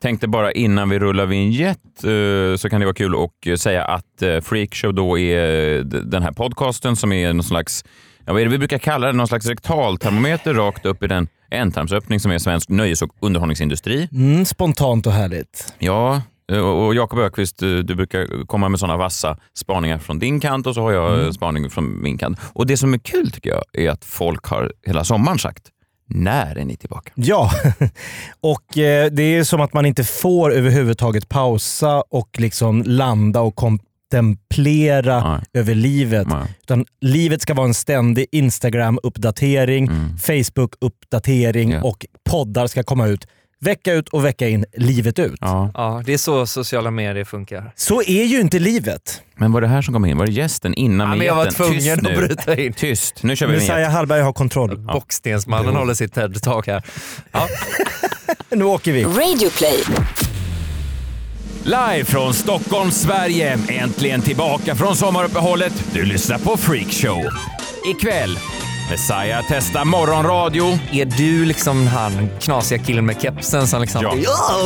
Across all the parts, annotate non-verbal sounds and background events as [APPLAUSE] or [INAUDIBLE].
Tänkte bara innan vi rullar vignett eh, så kan det vara kul att eh, säga att eh, Freakshow då är eh, d- den här podcasten som är någon slags, ja, vad är det vi brukar kalla det, någon slags rektaltermometer rakt upp i den ändtarmsöppning som är svensk nöjes och underhållningsindustri. Mm, spontant och härligt. Ja, eh, och och Jakob Ökvist eh, du brukar komma med sådana vassa spaningar från din kant och så har jag mm. spaning från min kant. Och det som är kul tycker jag är att folk har hela sommaren sagt, när är ni tillbaka? Ja, [LAUGHS] och eh, det är som att man inte får överhuvudtaget pausa och liksom landa och kontemplera Nej. över livet. Ja. Utan livet ska vara en ständig Instagram-uppdatering, Facebook-uppdatering Mm. Ja. och poddar ska komma ut vecka ut och vecka in, livet ut. Ja. Ja, det är så sociala medier funkar. Så är ju inte livet. Men var det här som kom in? Var det gästen innan Ja, men jag vignetten? var tvungen Tyst att nu. bryta in. Tyst, nu kör vi vignett. Messiah Hallberg har kontroll. Bockstensmannen håller sitt TED-talk här. Ja. Nu åker vi. Radio play. Live från Stockholm, Sverige. Äntligen tillbaka från sommaruppehållet. Du lyssnar på Freakshow. Ikväll, Messiah testar morgonradio. Är du liksom han knasiga killen med kepsen som liksom... Ja.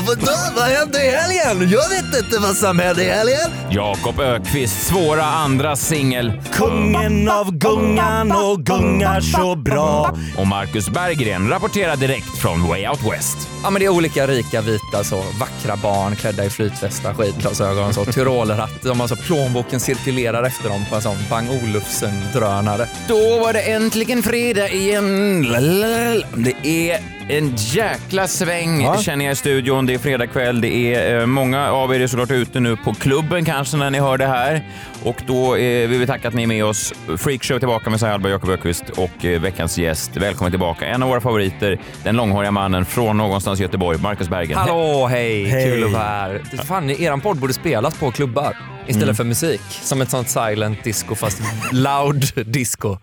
vadå? Vad hände i helgen? Jag vet inte vad som hände i helgen. Jakob Ökvist svåra andra singel. Kungen av gungan och gungar så bra. Och Marcus Berggren rapporterar direkt från Way Out West. Ja, men det är olika rika vita så vackra barn klädda i flytvästar, skidglasögon, så tyrolerhatt. De har så plånboken cirkulerar efter dem på en sån Bang Olufsen-drönare. Då var det äntligen fredag igen. Lalalala. Det är en jäkla sväng Ja. känner jag i studion. Det är fredag kväll. Det är eh, många av er är såklart ute nu på klubben kanske när ni hör det här. Och då eh, vill vi tacka att ni är med oss. Freakshow tillbaka med Saja Hallberg, Jakob Öqvist och eh, veckans gäst. Välkommen tillbaka. En av våra favoriter, den långhåriga mannen från någonstans i Göteborg, Marcus Bergen. Hallå, [LAUGHS] hej! Hej. Kul att vara här. Det- Fan, eran podd borde spelas på klubbar istället Mm. för musik. Som ett sånt silent disco fast loud [LAUGHS] disco.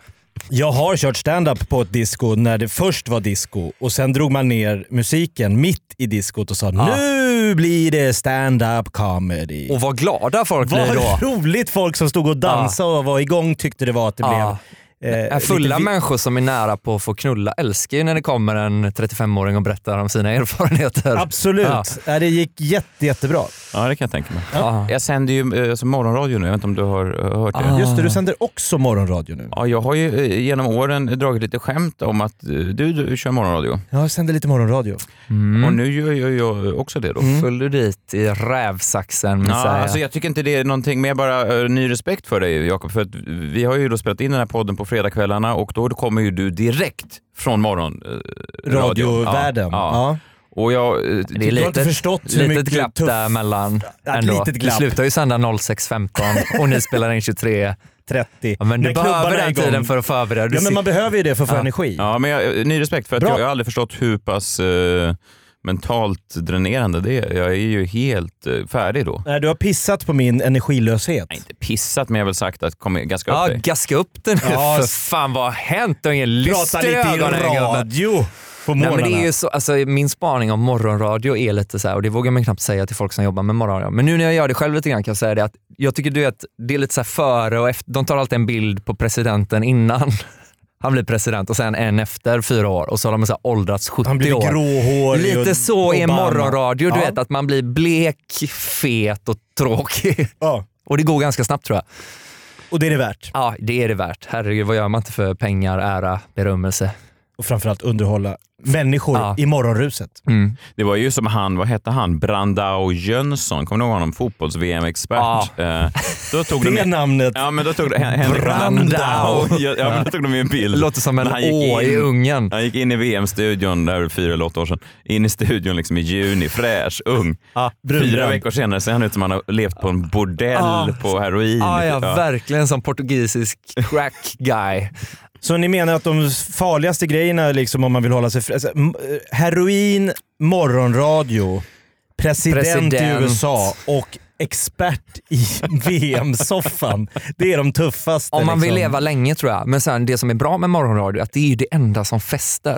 Jag har kört stand-up på ett disco när det först var disco och sen drog man ner musiken mitt i discot och sa nu blir det stand-up comedy. Och vad glada folk blir Vad då. roligt folk som stod och dansade och var igång tyckte det var att det Ja. blev. eh, Är fulla lite vi- människor som är nära på att få knulla älskar ju när det kommer en 35-åring och berättar om sina [LAUGHS] erfarenheter. Absolut. Ja. Ja, det gick jätte, jättebra. Ja, det kan jag tänka mig. Ja. Jag sänder ju eh, alltså, morgonradio nu. Jag vet inte om du har eh, hört det? Just det, du sänder också morgonradio nu. Ja, jag har ju eh, genom åren dragit lite skämt om att eh, du, du kör morgonradio. Ja, jag sänder lite morgonradio. Och nu gör jag, jag också det då. Föll du dit i rävsaxen Ja, Messiah? alltså jag tycker inte det är någonting, men jag bara eh, ny respekt för dig Jakob. För att vi har ju då spelat in den här podden på fredagskvällarna och då kommer ju du direkt från morgonradion. Radiovärlden. Ja, ja. Ja. Och jag, eh, Det är Du har litet, inte förstått hur litet mycket glapp tuff- där mellan. Ja, ett Ändå. litet Du glapp. slutar ju sända 06.15 och ni spelar in 23. 30. Ja, men du När klubbarna behöver är den igång. tiden för att förbereda dig. Ja, men man behöver ju det för att få Ja. energi. ja, men jag, eh, ny respekt för att Bra. jag, jag har aldrig förstått hur pass eh, mentalt dränerande det är. Jag är ju helt eh, färdig då. Nej, du har pissat på min energilöshet. Nej, inte pissat, men jag har väl sagt att kom igen, ganska upp Ja, dig. gaska upp den nu. Ja, för s- fan vad har hänt? Du har ingen lyst i Prata lite i ögonen. gubben. radio på Nej, men morgnarna. det är ju så, alltså, min spaning om morgonradio är lite så här, och det vågar man knappt säga till folk som jobbar med morgonradio. Men nu när jag gör det själv lite grann kan jag säga det att jag tycker du vet, det är lite så här före och efter. De tar alltid en bild på presidenten innan [LAUGHS] han blir president och sen en efter fyra år och så har de så här åldrats 70 Han blir år. gråhårig. Lite och så är Obama. morgonradio, du Ja. vet att man blir blek, fet och tråkig. [LAUGHS] Ja, Och det går ganska snabbt tror jag. och det är det värt. Ja, det är det värt. Herregud, vad gör man inte för pengar, ära, berömmelse? Och framförallt underhålla människor Ja. i morgonruset. Mm. Det var ju som han, vad hette han, Brandao Jönsson, kommer du ihåg honom? Fotbolls-VM-expert. Eh, då [LAUGHS] tog de Det namnet. Ja, men då tog de, Hen- Henrik Brandao. Brandao. Ja, men då tog de ju en bild. Låter som en När han gick å i in. Ungern. Han gick in i VM-studion, där fyra eller åtta år sedan, in i studion liksom i juni, fräsch, ung. brunbränd. Fyra veckor senare ser han ut som han har levt på en bordell Ah. på heroin. Ah, ja, Ja. verkligen som portugisisk crack [LAUGHS] guy. Så ni menar att de farligaste grejerna, liksom, om man vill hålla sig fri, alltså, m- eh, heroin, morgonradio, president, President. i USA och expert i [LAUGHS] VM-soffan. Det är de tuffaste. Om man vill liksom. leva länge tror jag. Men sen det som är bra med morgonradio är att det är ju det enda som fäster.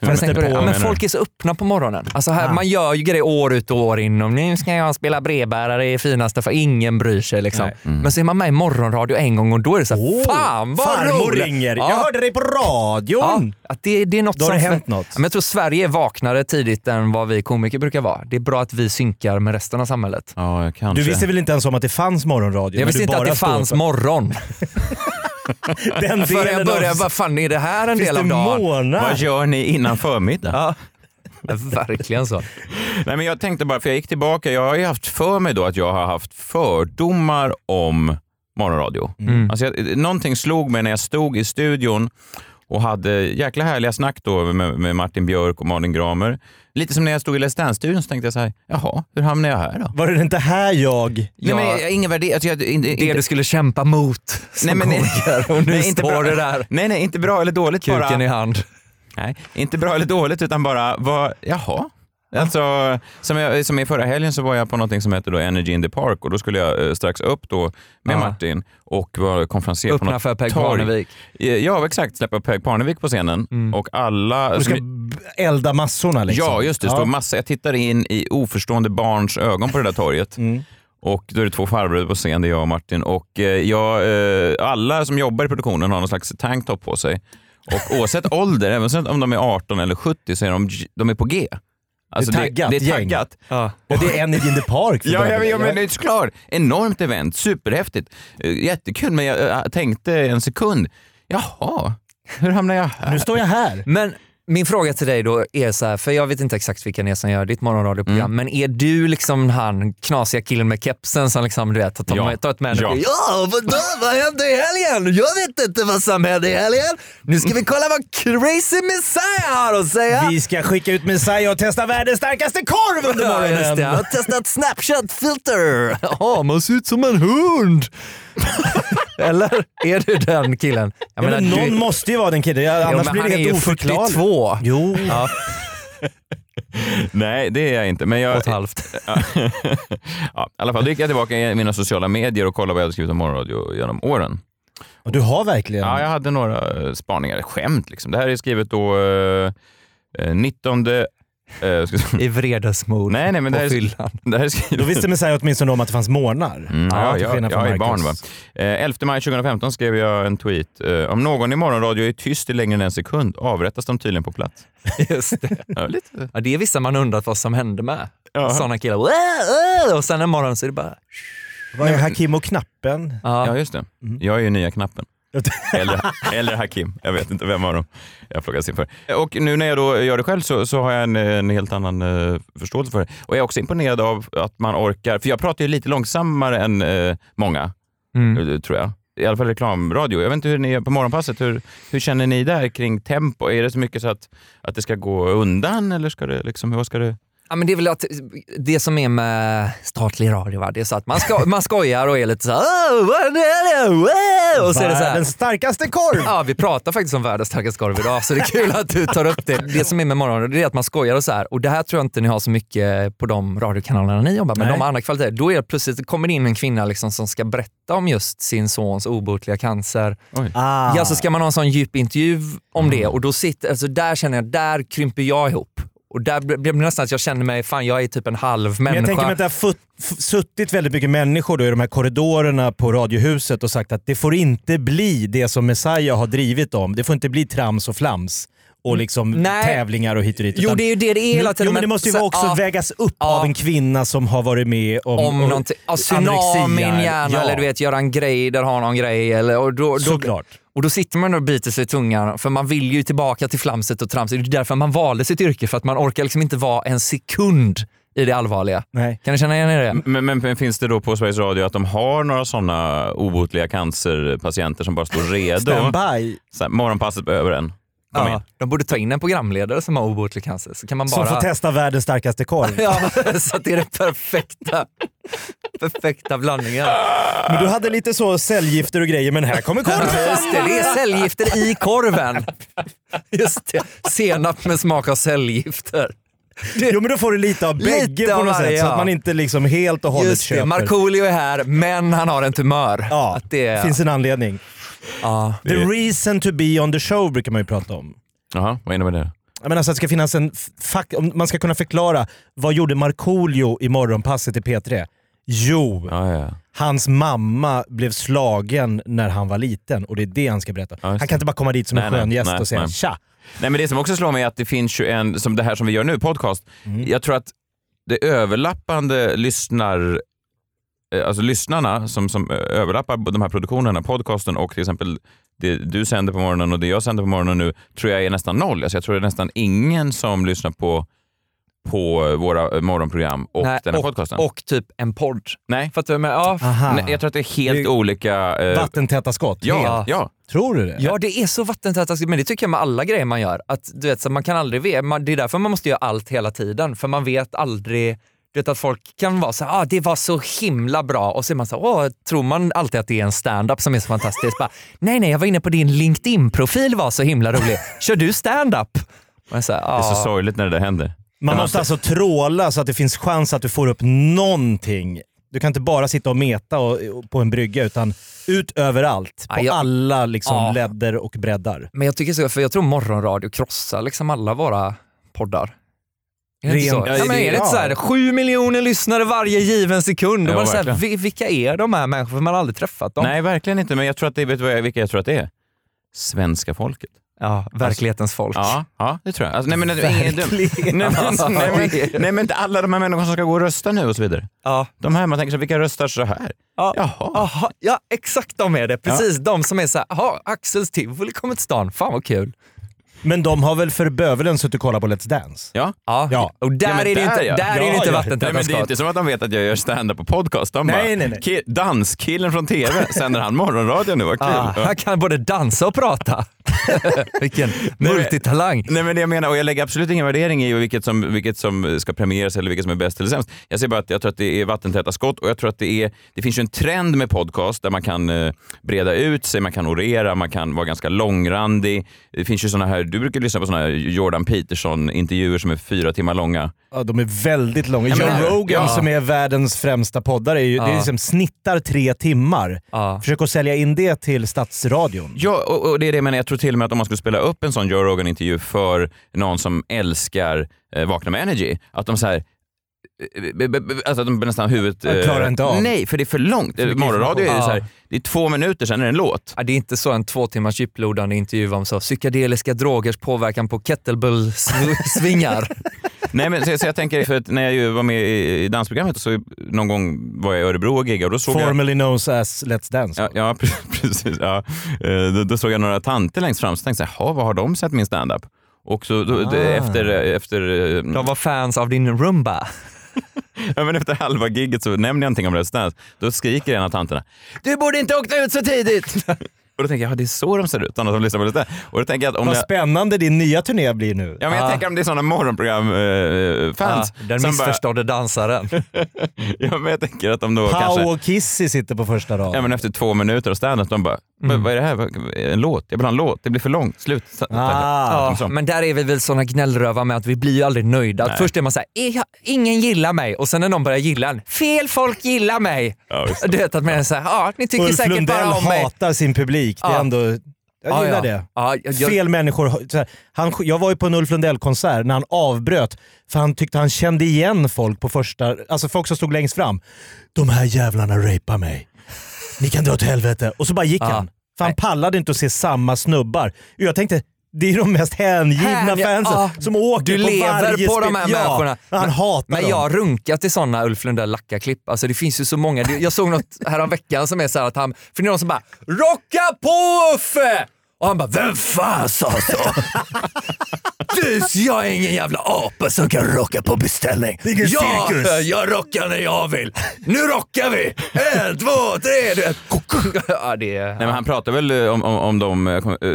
men- Fester Tänker Ja, Vad på. men menar folk är så öppna på morgonen. Alltså här, Ah. Man gör ju grejer år ut och år in. Och nu ska jag spela brevbärare i finaste för ingen bryr sig. Liksom. Men så är man med i morgonradio en gång och då är det så här, Åh, fan vad Farmor roligt! ringer. Ja. Jag hörde dig på radion. Ja, att det, det är något Då har som det hänt något. Ja, Men jag tror Sverige är vaknare tidigt än vad vi komiker brukar vara. Det är bra att vi synkar med resten av samhället. Ja, kanske. Du visste väl inte ens om att det fanns morgonradio? Jag när visste du inte att bara det står fanns för- morgon [LAUGHS] Den förrän jag delen började. av... Vad fan är det här en Finns del det av dagen? Vad månar? gör ni innan förmiddag? [LAUGHS] Ja. Verkligen så. Nej, men jag tänkte bara, för jag gick tillbaka. Jag har ju haft för mig då att jag har haft fördomar om morgonradio. Mm. Alltså jag, någonting slog mig när jag stod i studion och hade jäkla härliga snack då med, med Martin Björk och Malin Gramer. Lite som när jag stod i Let's Dance-studion så tänkte jag så här, jaha, hur hamnade jag här då? Var det inte här jag... Nej, men Ja. jag, ingen värde, alltså jag, inte, Det inte, du skulle kämpa mot som Nej, men- komiker och [LAUGHS] nu Nej, inte står bra. du där. nej, nej, inte bra eller dåligt bara. Kuken i hand. Nej, inte bra eller dåligt utan bara, vad, jaha. Alltså, som, jag, som i förra helgen så var jag på något som heter då Energy in the Park och då skulle jag eh, strax upp då med Ja. Martin och var konferenser på Öppna något för Peg torg. Parnevik. Mm. Eh, Ja, exakt. Släppa Peg Parnevik på scenen och alla... Du ska som- b- elda massorna liksom. Ja, just det. det Står massa, jag tittar in i oförstående barns ögon på det där torget. Och då är det två farbröder på scen, det är jag och Martin. Och eh, jag, eh, alla som jobbar i produktionen har någon slags tanktop på sig. Och [LAUGHS] oavsett ålder, även sen om de är 18 eller 70, så är de, de är på G. Alltså, taggat det, det är gäng. taggat. Ja. Ja, det är en i din park. för Ja, ja, början. ja, men det är klart. Enormt event, superhäftigt. Eh, Jättekul, men jag eh, tänkte en sekund, jaha, hur hamnar jag här? Nu står jag här. Men min fråga till dig då är så här, för jag vet inte exakt vilka ni är som gör ditt Mm. morgonradioprogram, men är du liksom han knasiga killen med kepsen som liksom, du vet, tar, Ja. tar ett manager? Ja. ja vadå, vad hände i helgen? Jag vet inte vad som hände i helgen. Nu ska vi kolla vad Crazy Messiah har att säga. Vi ska skicka ut Messiah och testa världens starkaste korv under Ja, just det. Jag morgonen. har testat Snapchat-filter. Ja, man ser ut som en hund. [LAUGHS] Eller är du den killen? Jag Ja, men du- någon måste ju vara den killen, ja, Ja, annars men blir det han är helt ju oförklarligt. 42 Jo, [LAUGHS] Nej, det är jag inte. Men jag, och ett halvt. Ja, I alla fall, då gick jag tillbaka i mina sociala medier och kollade vad jag hade skrivit om morgonradio genom åren. och du har verkligen... Ja, jag hade några eh, spaningar, skämt liksom. Det här är skrivet då eh, eh, 19... Eh, ska vi se. I vredesmod. nej, nej, men det på här, är- fyllan. det här är Då skrivet... visste Messiah åtminstone om att det fanns månar. Mm, ja, till jag, skillnad från jag är barn va. Marcus. Eh, 11 maj 2015 skrev jag en tweet. Eh, om någon i morgonradio är tyst i längre än en sekund avrättas de tydligen på plats. [LAUGHS] [LAUGHS] Just det. Ja, lite. Ja, det är vissa man undrat vad som hände med. Ja. Sådana killar. "Åh, åh", Och sen en morgon så är det bara... Vad är Hakim och knappen? Ja, Ja. just det. Mm. Jag är ju nya knappen. Eller, eller Hakim. Jag vet inte vem av dem jag plockas in för. Och nu när jag då gör det själv så, så har jag en, en helt annan eh, förståelse för det. Och jag är också imponerad av att man orkar, för jag pratar ju lite långsammare än eh, många, Mm. eh, tror jag. I alla fall reklamradio. Jag vet inte hur ni är på morgonpasset. Hur, hur känner ni där kring tempo? Är det så mycket så att, att det ska gå undan eller ska det liksom, hur ska det... Ja, men det är väl att det som är med statlig radio, va? det är så att man, ska, man skojar och är lite så här, "Åh, vad är det? Wow!" och så är det så här, Världens starkaste korv! Ja, vi pratar faktiskt om världens starkaste korv idag, så det är kul att du tar upp det. Det som är med morgonradio, det är att man skojar och så här. Och det här tror jag inte ni har så mycket på de radiokanalerna ni jobbar med, Nej. de andra kvaliteter. Då är det plötsligt kommer det in en kvinna liksom som ska berätta om just sin sons obotliga cancer. Ah. Ja, så ska man ha en sån djup intervju om det och då sitter, alltså där känner jag, där krymper jag ihop. Och där blir det nästan att jag känner mig, fan jag är typ en halv Men människa. jag tänker mig att det har futt, f- suttit väldigt mycket människor då i de här korridorerna på Radiohuset och sagt att det får inte bli det som Messiah har drivit om. Det får inte bli trams och flams och liksom Mm. Nej. tävlingar och hit och dit. Jo, utan- det är ju det det är hela tiden. Jo, men det måste ju så- vara också ja. vägas upp av en kvinna som har varit med om, om Mm, och- någonting. Ja, anorexia. tsunamin gärna, Ja, eller du vet, göra en grej där har någon grej. Eller, och, då, då, Såklart. och då sitter man och biter sig i tungan, för man vill ju tillbaka till flamset och tramset. Det är därför man valde sitt yrke, för att man orkar liksom inte vara en sekund i det allvarliga. Nej. Mm, Kan ni känna igen er i det? Men, men, men finns det då på Sveriges Radio att de har några sådana obotliga cancerpatienter som bara står redo? Standby. Så här, morgonpasset behöver en. Kom in. Ja, de borde ta in en programledare som har obotlig cancer, så kan man bara... Som får testa världens starkaste korv. [LAUGHS] ja, så att det är den perfekta, perfekta blandningen. Men du hade lite så cellgifter och grejer, men här kommer [LAUGHS] korven! Just det, det är cellgifter i korven. Just det, senap med smak av cellgifter. Jo men då får du lite av Lite bägge av på något varje, sätt så ja. att man inte liksom helt och hållet Just det, köper. Markoolio är här men han har en tumör. Ja, Att det, finns en anledning. ja. The reason to be on the show brukar man ju prata om. Jaha, vad innebär det? jag menar, så att det ska finnas en f- fack, om man ska kunna förklara, vad gjorde Markoolio i morgonpasset i P3? Jo, Ja, ja. hans mamma blev slagen när han var liten och det är det han ska berätta. Ja, just han kan inte bara komma dit som en Nej, nej, skön gäst nej, och säga nej. tja. Nej, men det som också slår mig är att det finns ju en, som det här som vi gör nu, podcast. Jag tror att det överlappande lyssnar, eh, alltså lyssnarna som, som eh, överlappar de här produktionerna, podcasten och till exempel det du sänder på morgonen och det jag sänder på morgonen nu, tror jag är nästan noll. Alltså jag tror det är nästan ingen som lyssnar på, på våra eh, morgonprogram och Nej, den här podcasten. Och typ en podd. Nej. Fattar du? Men, ja, f- Aha. Nej, jag tror att det är helt Det- olika... eh, Vattentäta skott. ja, ja. Tror du det? ja, det är så vattentäta skott, men det tycker jag med alla grejer man gör. Att, du vet, så man kan aldrig, ve- man, det är därför man måste göra allt hela tiden, för man vet aldrig du vet att folk kan vara så här, ah, det var så himla bra och så är man så här, åh, tror man alltid att det är en stand-up som är så fantastisk. Bara, nej, nej, jag var inne på din LinkedIn-profil var så himla rolig. Kör du stand-up? Man är så här, Det är så "Ah." sorgligt när det där händer. Man måste alltså tråla så att det finns chans att du får upp någonting. Du kan inte bara sitta och meta och, och på en brygga, utan ut överallt. På Ja, jag- alla liksom Ja. ledder och breddar. Men jag tycker så, för jag tror morgonradio krossar liksom alla våra poddar. Är det inte så? Rent- Ja, men är det inte så här, ja. sju miljoner lyssnare varje given sekund? Ja, Och man är så här, verkligen. vi- vilka är de här människorna? För man har aldrig träffat dem. Nej, verkligen inte. Men jag tror att det, vet du vad jag- vilka jag tror att det är? Svenska folket. Ja, verklighetens folk. [LAUGHS] Ja, ja det tror jag. Alltså, nej, men, det är ingen dum. [LAUGHS] Nej, men, nej, men, nej men inte alla de här människorna som ska gå och rösta nu och så vidare. Ja. De här, man tänker sig, vilka röstar så här? Ja. Jaha. Aha, ja, exakt de är det. Precis de som är så här, "Jaha, Axels tivoli kommer till stan, fan vad kul. Men de har väl för bövelen suttit och kollat på Let's Dance? Ja. Ja. Ja. Och där Ja, men är det där, inte, ja. där är det Ja, inte Nej, ja. vattentäta men det är skott. inte som att de vet att jag gör stand-up på podcast. De bara, Nej, nej, nej. "Ki- danskillen från TV, sänder han morgonradio nu? Vad kul. Ah, Ja. han kan både dansa och prata. Vilken multitalang. Nej men det jag menar, och jag lägger absolut ingen värdering i vilket som, vilket som ska premieras eller vilket som är bäst eller sämst. Jag säger bara att jag tror att det är vattentäta skott och jag tror att det är, det finns ju en trend med podcast där man kan eh, breda ut sig, man kan orera, man kan vara ganska långrandig. Det finns ju såna här, du brukar lyssna på såna här Jordan Peterson-intervjuer som är fyra timmar långa. Ja, de är väldigt långa. men- Joe Rogan Ja. som är världens främsta poddare, är ju, det är Ja. liksom snittar tre timmar. Ja. Försök att sälja in det till Stadsradion. Ja, och, och det är det men jag tror till och med att om man skulle spela upp en sån Joe Rogan-intervju för någon som älskar eh, Vakna med Energy, att de så här eh, b- b- b- Alltså att de nästan huvudet... eh, Jag klarar inte av. Nej, för det är för långt. mycket Morgonradio är ju information. så här, det är två minuter, sen är det en låt. Ja, det är inte så en två timmars djuplodande intervju om så psykedeliska drogers påverkan på [LAUGHS] kettlebell-svingar. Nej, men, så, så jag tänker, för att när jag ju var med i, i dansprogrammet så någon gång var jag i Örebro och giggade och då såg jag... Formerly knows as Let's Dance. Ja, [LAUGHS] ja pre- precis. Ja. Eh, Då, då såg jag några tanter längst fram så tänkte jag, "Jaha, vad har de sett min standup? Och så då, det- efter, efter eh, De var fans av din rumba. [LAUGHS] Ja, men efter halva gigget så nämner jag någonting om Let's Dance. Då skriker en av tanterna “Du borde inte åkt ut så tidigt!” [LAUGHS] Och då tänker jag, ja, det är så de ser ut, annars de lyssnar på Let's Dance. Och då tänker jag att om Vad jag, spännande din nya turné blir nu. ja, men jag Ah. tänker om det är sådana morgonprogram-fans. Ja, den missförstådde dansaren. ja, men jag tänker att de då kanske... Pau och Kissy sitter på första raden. Ja, men efter två minuter av standup, de bara, Mm. "Vad- vad är det här? Vad- En låt? Jag vill ha en låt. Det blir för långt. Slut. Sa- Ah. sa- sa- Men där är vi väl såna gnällrövar med att vi blir ju aldrig nöjda. Att Först är man såhär, ingen gillar mig och sen när någon börjar gilla en, fel folk gillar mig. Ja, just du vet att man är såhär, ja ni tycker Ulf säkert Lundell bara om mig. hatar sin publik. Det är Ja. ändå... Jag Ja, gillar ja. det. Ja, jag- jag- Fel människor. har- så här, Han, jag var ju på en Ulf Lundell-konsert när han avbröt för han tyckte han kände igen folk på första... Alltså folk som stod längst fram. De här jävlarna rapar mig. Ni kan dra åt helvete. Och så bara gick Ja. han. För han pallade inte att se samma snubbar. Och jag tänkte, det är de mest hängivna Hänge- fansen ja. som åker Du på varje lever på spel. de här ja, människorna. Han Men- hatar Men dem. jag runkar till sådana Ulf Lundell lackarklipp. Alltså det finns ju så många. Det- Jag såg något häromveckan som är så här att han, för det är någon som bara “Rocka på Uffe!” och han bara “Vem fan [LAUGHS] sa så?” du, Jag är ingen jävla apa som kan rocka på beställning. Vilken jag, cirkus." eh, jag rockar när jag vill. Nu rockar vi! En, två, tre! Du vet. Ja, det är... Nej, men han pratar väl eh, om, om, om de eh, kom- eh,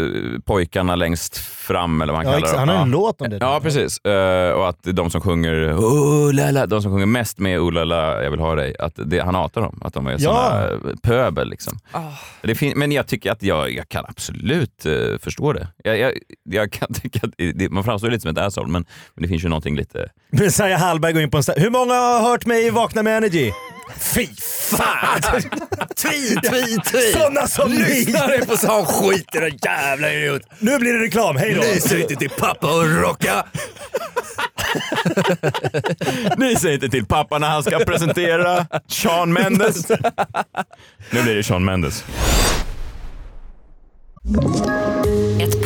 pojkarna längst fram eller vad han Ja, kallar exakt. dem. han har en Ja. låt om det. Ja, precis. Eh, och att de som sjunger "Oh, la, la", de som sjunger mest med "Oh, la, la, jag vill ha dig, att det, han hatar dem. Att de är såna eh, pöbel. Liksom. Det fin- men jag tycker att jag, jag kan absolut eh, förstå det. Jag, jag, jag kan [LAUGHS] tycka att det, man framstår lite som ett asshole, men, men det finns ju någonting lite... Messiah Hallberg går in på en sta- Hur många har hört mig i Vakna med Energy? Fy [LAUGHS] fan! Tvi, tvi, tvi! Såna som ni! Lyssnare på sån skit, era jävla idiot! Nu blir det reklam, hej då! Ni säger inte till pappa och rocka! Ni säger inte till pappa när han ska presentera Sean Mendes. Nu blir det Sean Mendes. Ett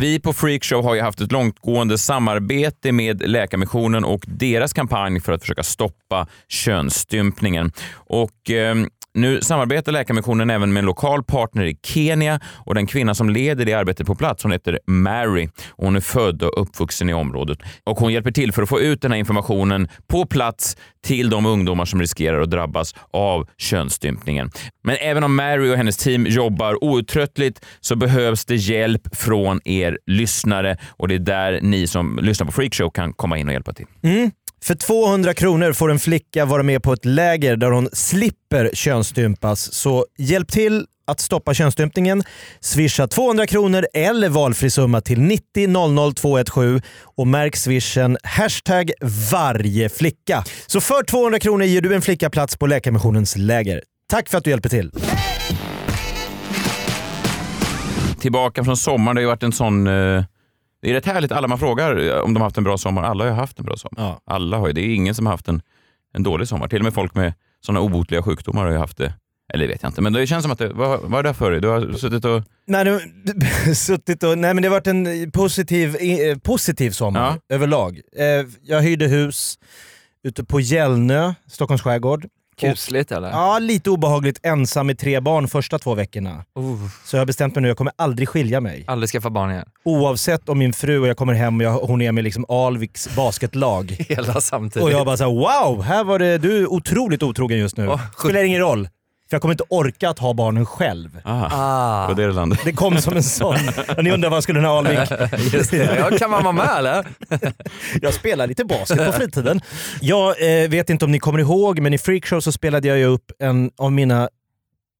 Vi på Freakshow har ju haft ett långtgående samarbete med Läkarmissionen och deras kampanj för att försöka stoppa könsstympningen. Och, ehm, nu samarbetar Läkarmissionen även med en lokal partner i Kenya och den kvinna som leder det arbetet på plats hon heter Mary. Och hon är född och uppvuxen i området och hon hjälper till för att få ut den här informationen på plats till de ungdomar som riskerar att drabbas av könsstympningen. Men även om Mary och hennes team jobbar outtröttligt så behövs det hjälp från er lyssnare och det är där ni som lyssnar på Freakshow kan komma in och hjälpa till. För 200 kronor får en flicka vara med på ett läger där hon slipper könsstympas. Så hjälp till att stoppa könsstympningen. Swisha 200 kronor eller valfri summa till 90 00 217 och märk swishen hashtag varje flicka. Så för 200 kronor ger du en flicka plats på Läkarmissionens läger. Tack för att du hjälper till. Tillbaka från sommaren, det har ju varit en sån... Eh, det är rätt härligt, alla man frågar eh, om de har haft en bra sommar. Alla har ju haft en bra sommar. Ja. Alla har ju, det är ingen som har haft en, en dålig sommar. Till och med folk med såna obotliga sjukdomar har ju haft det. Eller det vet jag inte, men det känns som att det, vad, vad är det för dig? Du har suttit och... Nej, det, [LAUGHS] suttit och, nej men det har varit en positiv, eh, positiv sommar överlag. Eh, jag hyrde hus ute på Gällnö, Stockholms skärgård. Kusligt eller? Ja, lite obehagligt ensam med tre barn första två veckorna. Oh, Så jag har bestämt mig nu, jag kommer aldrig skilja mig. aldrig skaffa barn igen. Oavsett om min fru och jag kommer hem och jag, hon är med liksom Alviks basketlag. [LAUGHS] Hela samtidigt. Och jag bara såhär wow, här var det, du är otroligt otrogen just nu. Åh, Spelar ingen roll, för jag kommer inte orka att ha barnen själv. Ah, Ah, Vad det landade. Det kom som en sån. [LAUGHS] Ni undrar vad skulle den här Alvik... just det. Ja, kan man vara med eller? Jag spelar lite basket på fritiden. Jag eh, vet inte om ni kommer ihåg, men i Freakshow så spelade jag ju upp en av mina,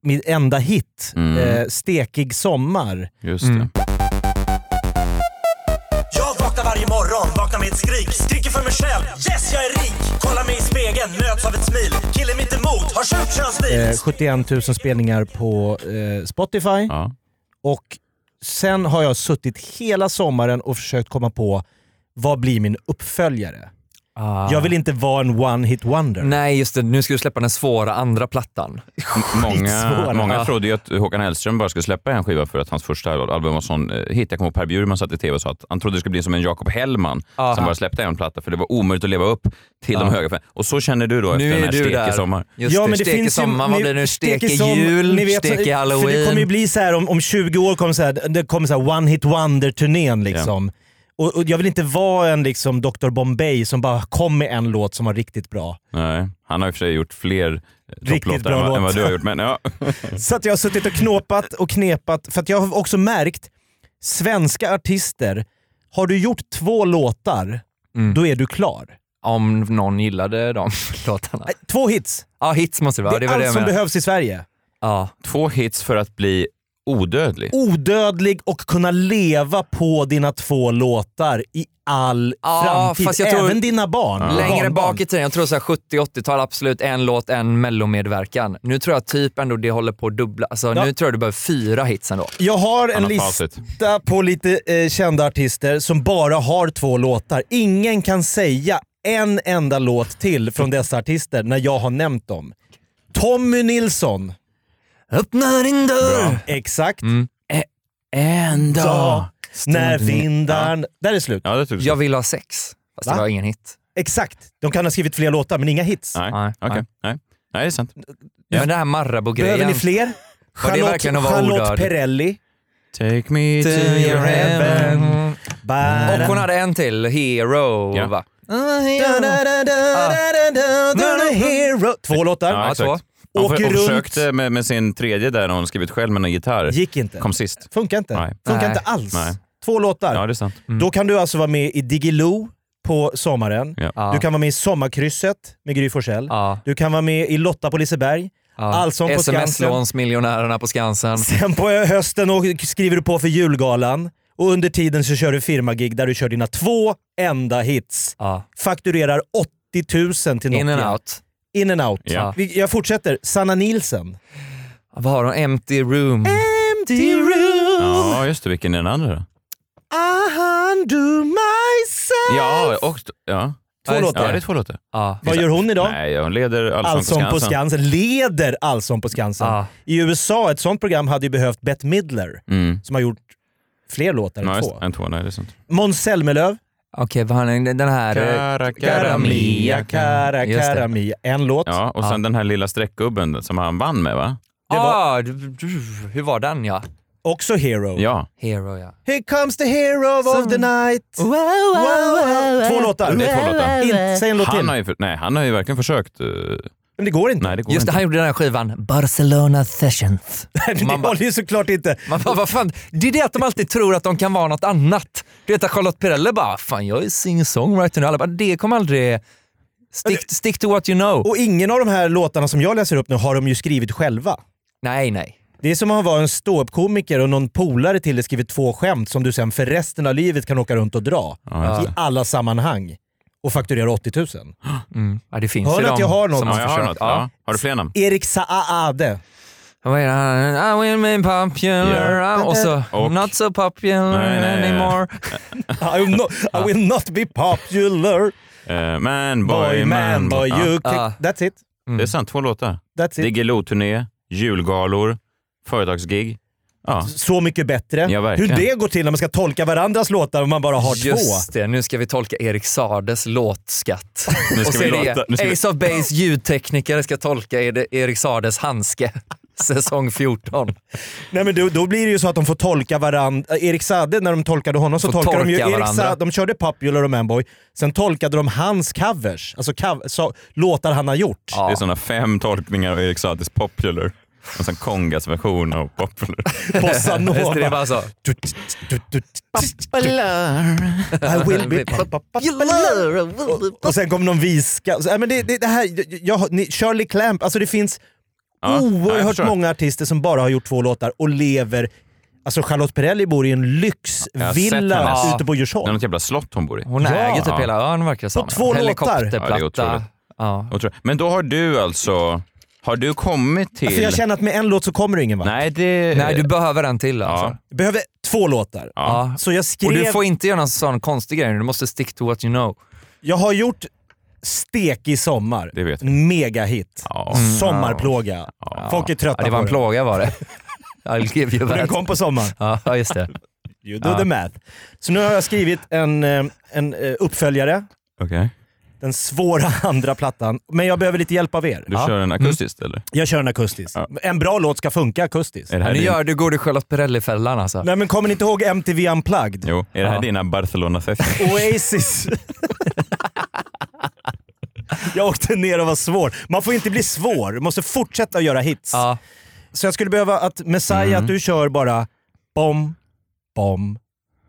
min enda hit, Mm. eh, Stekig sommar. Just Mm. det. Jag vaknar varje morgon, vaknar med ett skrik Skriker för mig själv, yes jag är rik Kollar mig i spegeln, möts av ett smil Killen mitt emot har kört könsbil Eh, 71 000 spelningar på eh, Spotify. Ja. Och sen har jag suttit hela sommaren och försökt komma på vad blir min uppföljare? Ah. Jag vill inte vara en one-hit wonder. Nej, just det. Nu ska du släppa den svåra andra plattan. Många, Skitsvåra. många Ja. trodde ju att Håkan Hellström bara skulle släppa en skiva för att hans första album var sån eh, hit. Jag kommer ihåg Per Bjurman satt i tv och sa att han trodde det skulle bli som en Jakob Hellman Ja. som bara släppte en platta för det var omöjligt att leva upp till de höga fan. Och så känner du då efter Nu den är här du stek där. i sommar. Just det, stek i sommar, vad ni- blir det nu? Stek i som- ni jul, vet, stek i För det halloween. kommer ju bli så här om, om 20 år kommer så här, det kommer så här one hit wonder-turnén liksom. Och, och jag vill inte vara en liksom Dr Bombay som bara kom med en låt som var riktigt bra. Nej, han har i och för sig gjort fler eh, Riktigt topplåtar bra än, vad- än vad låt. du har gjort. Men, ja. Mm. Så att jag har suttit och knåpat och knepat, för att jag har också märkt, svenska artister, har du gjort två låtar, Mm. då är du klar. Om någon gillade de [LAUGHS] låtarna. Nej, Två hits, Ja, hits måste det vara. det är Det var allt det jag som menade. behövs i Sverige. Ja. Två hits för att bli odödlig. odödlig och kunna leva på dina två låtar i all Ja, framtid. fast jag tror- Även dina barn. och Längre barnbarn. bak i tiden, jag tror så här 70-80-tal, absolut en låt, en mellomedverkan. Nu tror jag typ ändå det håller på att dubbla. Alltså, Ja. Nu tror jag du behöver fyra hits ändå. Jag har en Annat lista facit. på lite eh, kända artister som bara har två låtar. Ingen kan säga en enda låt till från dessa artister när jag har nämnt dem. Tommy Nilsson. Öppna din dörr! Exakt. Mm. En dag. Ja. När vindarn... Där är slut. Ja, det tycker Jag jag. vill ha sex. Fast Va? det var ingen hit. Exakt. De kan ha skrivit fler låtar, men inga hits. Nej, Nej, okej. nej. Nej. Nej, det är sant. Ja. Men det här Marabou-grejen. Behöver ni fler? Var det Charlotte, verkligen att vara Charlotte odöd? Perrelli. Take me To your heaven. Och hon hade en till, Hero. Ja. Va? Ja, Hero. Två låtar. Ja, så. exakt. Hon, Åker för, hon runt. försökte med, med sin tredje där hon skrivit själv med en gitarr. Gick inte. Kom sist. Funkar inte. Nej. Funkar Nej. inte alls. Nej. Två låtar. Ja, det mm. är sant. Då kan du alltså vara med i Digiloo på sommaren. Ja. Du kan vara med i Sommarkrysset med Gry Forssell. Ja. Du kan vara med i Lotta på Liseberg. Ja. Allsång på Skansen. Sms-lånsmiljonärerna på Skansen. Sen på hösten och skriver du på för julgalan. Och under tiden så kör du firmagig där du kör dina två enda hits. Ja. Fakturerar 80 000 till Nokia. In and out. In and out. Ja. Vi- Jag fortsätter. Sanna Nilsen. Vad har hon? Empty room. Empty room, Ja, just det. Vilken är den andra då? I undo myself. Ja, och, ja. Två Ja, ja, just låtar. det är två låtar. Ja. Vad gör hon idag? Nej, hon leder Allsång, Allsång på Skansen. Skansen. Leder Allsång på Skansen. Ja. I USA, ett sånt program hade ju behövt Bette Midler, Mm. som har gjort fler låtar Nej, än just två. det. en två. Nej, det är sant. Måns Zelmerlöw. Okej, vad har hon? Den här... eh, Cara, cara Karamia, mia, Mm. Cara, Just det. Cara Mia. En låt. Ja, och sen den här lilla streckgubben som han vann med, va? Ah, du, du, hur var den ja? Också Hero. Ja. Hero ja. Here comes the hero of the night. Wow, Två låtar. Det är två låtar. In, säg en låt till. Han har ju, för- nej, han har ju verkligen försökt. eh, Men det går inte. Nej, det går Just det, inte. han gjorde den här skivan Barcelona Sessions. [LAUGHS] det Man bara- håller ju såklart inte. Man bara, vad fan? Det är det att de alltid tror att de kan vara något annat. Du vet att Charlotte Perrelli bara, fan jag är singer-songwriter nu. Alla bara, det kommer aldrig... Stick, stick to what you know. Och ingen av de här låtarna som jag läser upp nu har de ju skrivit själva. Nej, nej. Det är som att vara en ståuppkomiker och någon polare till dig skriver två skämt som du sen för resten av livet kan åka runt och dra. Ja, I alla sammanhang. Och fakturera 80 000. Ja, det finns Hör ju du att de jag har något? som Ja, Ja, jag har försökt. något. Ja. Ja. Har du fler namn? Erik Saade. Vad är det här? I will be popular. Ja. Och så, Och- not so popular Nej, nej, nej. anymore. I will not, I will not be popular. Eh, man, Boy, man, boy, Ja, you kick. Ah. That's it. Det är sant, två låtar. That's it. Diggiloo-turné, julgalor, företagsgig. Ja, Så mycket bättre. Ja, Hur verkligen. det går till när man ska tolka varandras låtar och man bara har två. Just det, nu ska vi tolka Erik Sardes låtskatt. [LAUGHS] Nu ska och så vi är det låta- nu ska vi- Ace of Base ljudtekniker ska tolka Ed- Erik [LAUGHS] Sardes handske. Säsong 14. Nej, men då, då blir det ju så att de får tolka varandra. Erik Saade, när de tolkade honom så Får tolkade de ju tolka Erik varandra. Saade, De körde Popular och Manboy, sen tolkade de hans covers. Alltså cov så, låtar han har gjort. det är sådana fem tolkningar av Erik Saades Popular. Och sen Kongas version av [LAUGHS] Popular. Bossa Just det, det Nova. var så. I [LAUGHS] will be popular. Och- Och sen kom någon viska. Så, nej, men det, det, det här, jag, jag, ni, Shirley Clamp, alltså det finns Ja, ja, jag oerhört förstår. många artister som bara har gjort två låtar och lever... Alltså Charlotte Perrelli bor i en jag har sett lyxvilla hennes. ute på Det är Djursholm. något jävla slott hon bor i. Hon äger typ Ja. hela ön verkar det som. På två låtar. Ja, det är Helikopterplatta. otroligt. Ja. Otroligt. Men då har du alltså... Har du kommit till... För Alltså, jag känner att med en låt så kommer du ingen vart. Nej, det... Alltså, Nej, du behöver en till alltså. Ja. Jag behöver två låtar. Ja. Så jag Och skrev... du får inte göra någon sån konstig grej, du måste stick to what you know. Jag har gjort Stek i sommar. Det vet vi. Megahit. Ja. Sommarplåga. Folk är trötta Ja, det var en på plåga [LAUGHS] var det. I'll give you det. Den that. kom på sommaren. Ja, just det. You do the math. Så nu har jag skrivit en, eh, en eh, uppföljare. Okej. Den svåra [LAUGHS] andra plattan. Men jag behöver lite hjälp av er. Du kör Mm. en akustiskt, eller? Jag kör en akustisk. En bra låt ska funka akustiskt. Är det här Nu din... gör du, går du Charlotte Perrelli-fällan alltså. Nej men kommer ni inte ihåg MTV Unplugged? Jo, är det här Ja. dina barcelona [LAUGHS] fester Oasis. jag åkte ner och var svår. Man får inte bli svår. Man måste fortsätta att göra hits. Ja. Mm. Så jag skulle behöva att Messiah, att du kör bara bom, bom,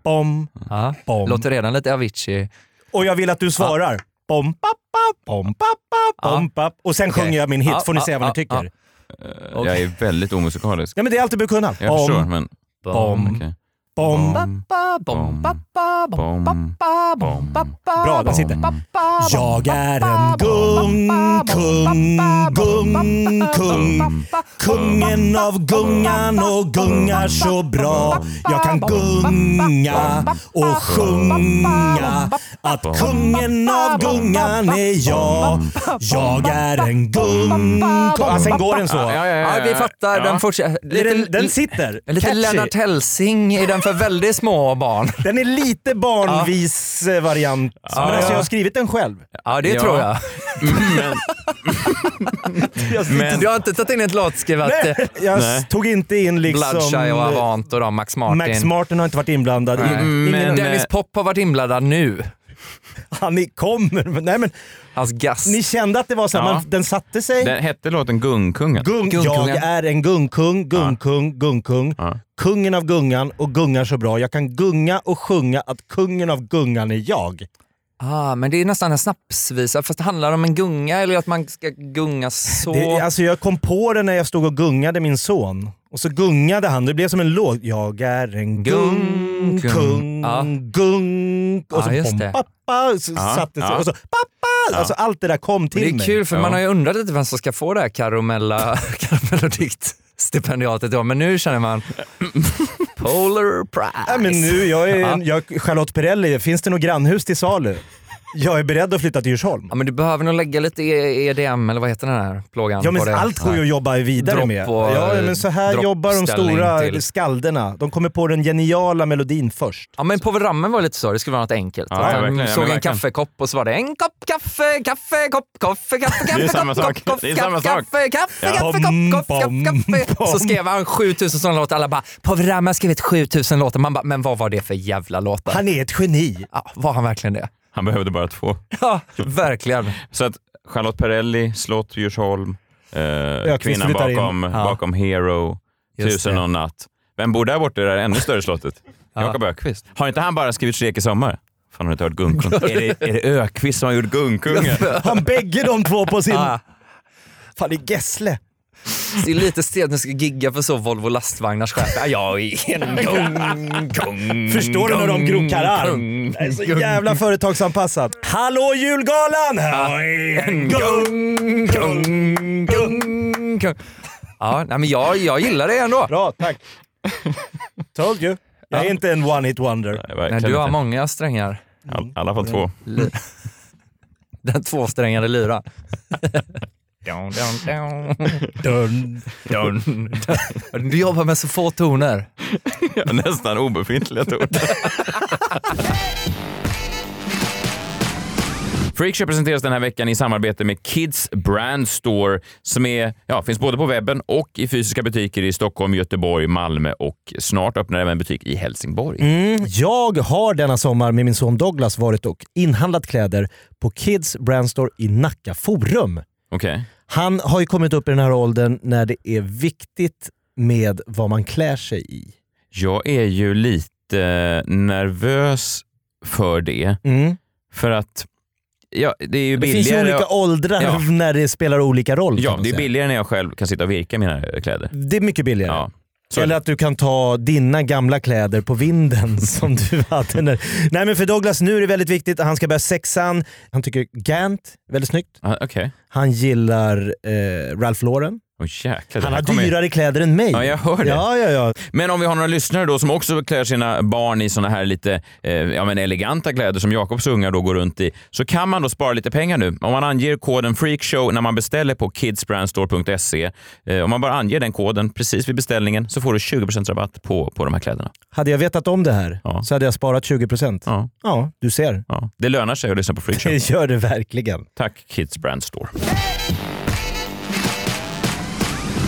bom. Ja. Bom. Låter redan lite Avicii. Och jag vill att du svarar. Bom, pappa, bom, pappa, bom, pappa. Och sen Okej. sjunger jag min hit. Ja, Får ni ja, säga vad ja, ni tycker. ja. Jag är väldigt omusikalisk. Ja, men det är allt du behöver kunna. Jag förstår, men... bom, Okej. bom, bom. Ba, bom, ba, ba, bom, Bom. ba, bom, ba, ba, Bra, där bom, sitter. ba, ba, bom, Jag ba, är ba, en gung, kung, gung, kung. Kungen av gungan och gungar så bra. Jag kan gunga och sjunga att kungen av gungan är jag. Jag är en gung... Ja, sen går den så. Ja, vi fattar. Den fortsätter. Den, den sitter. Lite Catchy. Lennart Hellsing är den för väldigt små barn. Den är lite barnvis eh, variant. Men alltså jag har skrivit den själv. Ja, det tror jag. Men Men- Men... Jag har inte tagit in ett låtskriv att eh, Jag Nej. tog inte in liksom... eh, Bloodshy och Avant och de, Max Martin. Mm, eh, Max Martin har inte varit inblandad. Nej. Ingen- Men- Dennis Pop har varit inblandad nu. eh, Han är- kommer. men- Nej, men, Hans gass. ni kände att det var så här, Ja. man, den satte sig. Den hette låten Gungkungen. Gung, Gungkungen. jag är en gungkung, gungkung, gungkung. Ja. Kungen av gungan och gungar så bra. Jag kan gunga och sjunga att kungen av gungan är jag. Ah, men det är nästan en snapsvisa, fast det handlar om en gunga eller att man ska gunga så. Det, alltså jag kom på det när jag stod och gungade min son. Och så gungade han. Det blev som en låt. Jag är en gung, Gung, kung, ja. gung. Och så Ja, just kom det. pappa. och Så Ja, satte sig. ja. Och så pappa. Alltså allt det där kom till Och det är mig. kul för Ja. man har ju undrat lite vem som ska få det här karamella, [LAUGHS] karamellodikt stipendiatet då, men nu [LAUGHS] känner man Polar Prize. Nej, men nu, jag är en, jag, Charlotte Perrelli, finns det något grannhus till salu? Jag är beredd att flytta till Djursholm. Ja, men du behöver nog lägga lite E- EDM eller vad heter den här plågan? Ja men på det? allt går ju att jobba vidare Dropp med. och, ja, men så här dropp jobbar de ställning stora till. skalderna. De kommer på den geniala melodin först. Ja men Povel Ramel var lite så, det skulle vara något enkelt. Ja, Att han verkligen, ja, men såg en verkligen. kaffekopp och så var det en kopp kaffe, kaffe, kopp, kaffe, kaffe, kaffe, kopp, samma kopp, sak. kopp, Det är samma kaffe, sak. kaffe, kaffe, Ja. kaffe, Pom, kopp, kopp, pom, kaffe, pom. Så skrev han 7000 sådana låtar. Alla bara Povel Ramel har skrivit 7000 låtar. Man bara, men vad var det för jävla låtar? Han är ett geni. Ja, var han verkligen det? Han behövde bara två. Ja, verkligen. Så att Charlotte Perrelli, Slott, Djursholm, eh, Ökvist kvinnan flyttar in. bakom, Ja. bakom Hero, Just Tusen det. och en natt. Vem bor där borta i det där ännu större slottet? Jakob Ökvist. Har inte han bara skrivit Shrek i sommar? Fan, har du inte hört Gungkung? [LAUGHS] är, det, är det Ökvist som har gjort Gungkungen? Han bägge de två på sin... Ja, Fan det är Gessle. det är lite stelt när du ska gigga för så Volvo lastvagnars chef. [LAUGHS] Ja, jag är en kung, kung, Förstår du när de grokar arm? kung, Det är så jävla företagsanpassat. Hallå julgalan! Jag är en gung. kung, kung, kung. Ja, nej, men jag, jag gillar det ändå. Bra, tack. Told you. Jag är inte en one-hit wonder. Nej, Nej, verkligen du har inte. många strängar. All- I alla fall två. Li- Den tvåsträngade lyran. Dun, dun, Dun. dun, dun. Du jobbar med så få toner. [LAUGHS] Nästan obefintliga tårtor. Freakshow presenteras den här veckan i samarbete med Kids Brand Store som är, ja, finns både på webben och i fysiska butiker i Stockholm, Göteborg, Malmö och snart öppnar även en butik i Helsingborg. Mm, jag har denna sommar med min son Douglas varit och inhandlat kläder på Kids Brand Store i Nacka Forum. Okej. Han har ju kommit upp i den här åldern när det är viktigt med vad man klär sig i. Jag är ju lite nervös för det, för att ja, det är ju Mm. Det finns ju billigare... olika åldrar Ja. [LAUGHS] när det spelar olika roll. kan ja, man det är säga. billigare när jag själv kan sitta och virka mina kläder. det är mycket billigare. Ja. Så- Eller att du kan ta dina gamla kläder på vinden [LAUGHS] som du hade. När... Nej men för Douglas nu är det väldigt viktigt. Han ska börja sexan. Han tycker Gant är väldigt snyggt. Ah, Okej. Han gillar eh, Ralph Lauren. Åh, jäklar, det Han här har kommer ju- dyrare kläder än mig. Ja, jag hör det. Ja, ja, ja. Men om vi har några lyssnare då som också klär sina barn i såna här lite eh, ja, men eleganta kläder som Jakobs ungar då går runt i, så kan man då spara lite pengar nu. Om man anger koden freakshow när man beställer på kidsbrandstore.se, eh, om man bara anger den koden precis vid beställningen så får du 20 rabatt på, på de här kläderna. Hade jag vetat om det här Ja. så hade jag sparat 20%. Ja, Ja, du ser. ja. Det lönar sig att lyssna på [LAUGHS] freakshow. Det gör det verkligen. Tack Kids Brand Store.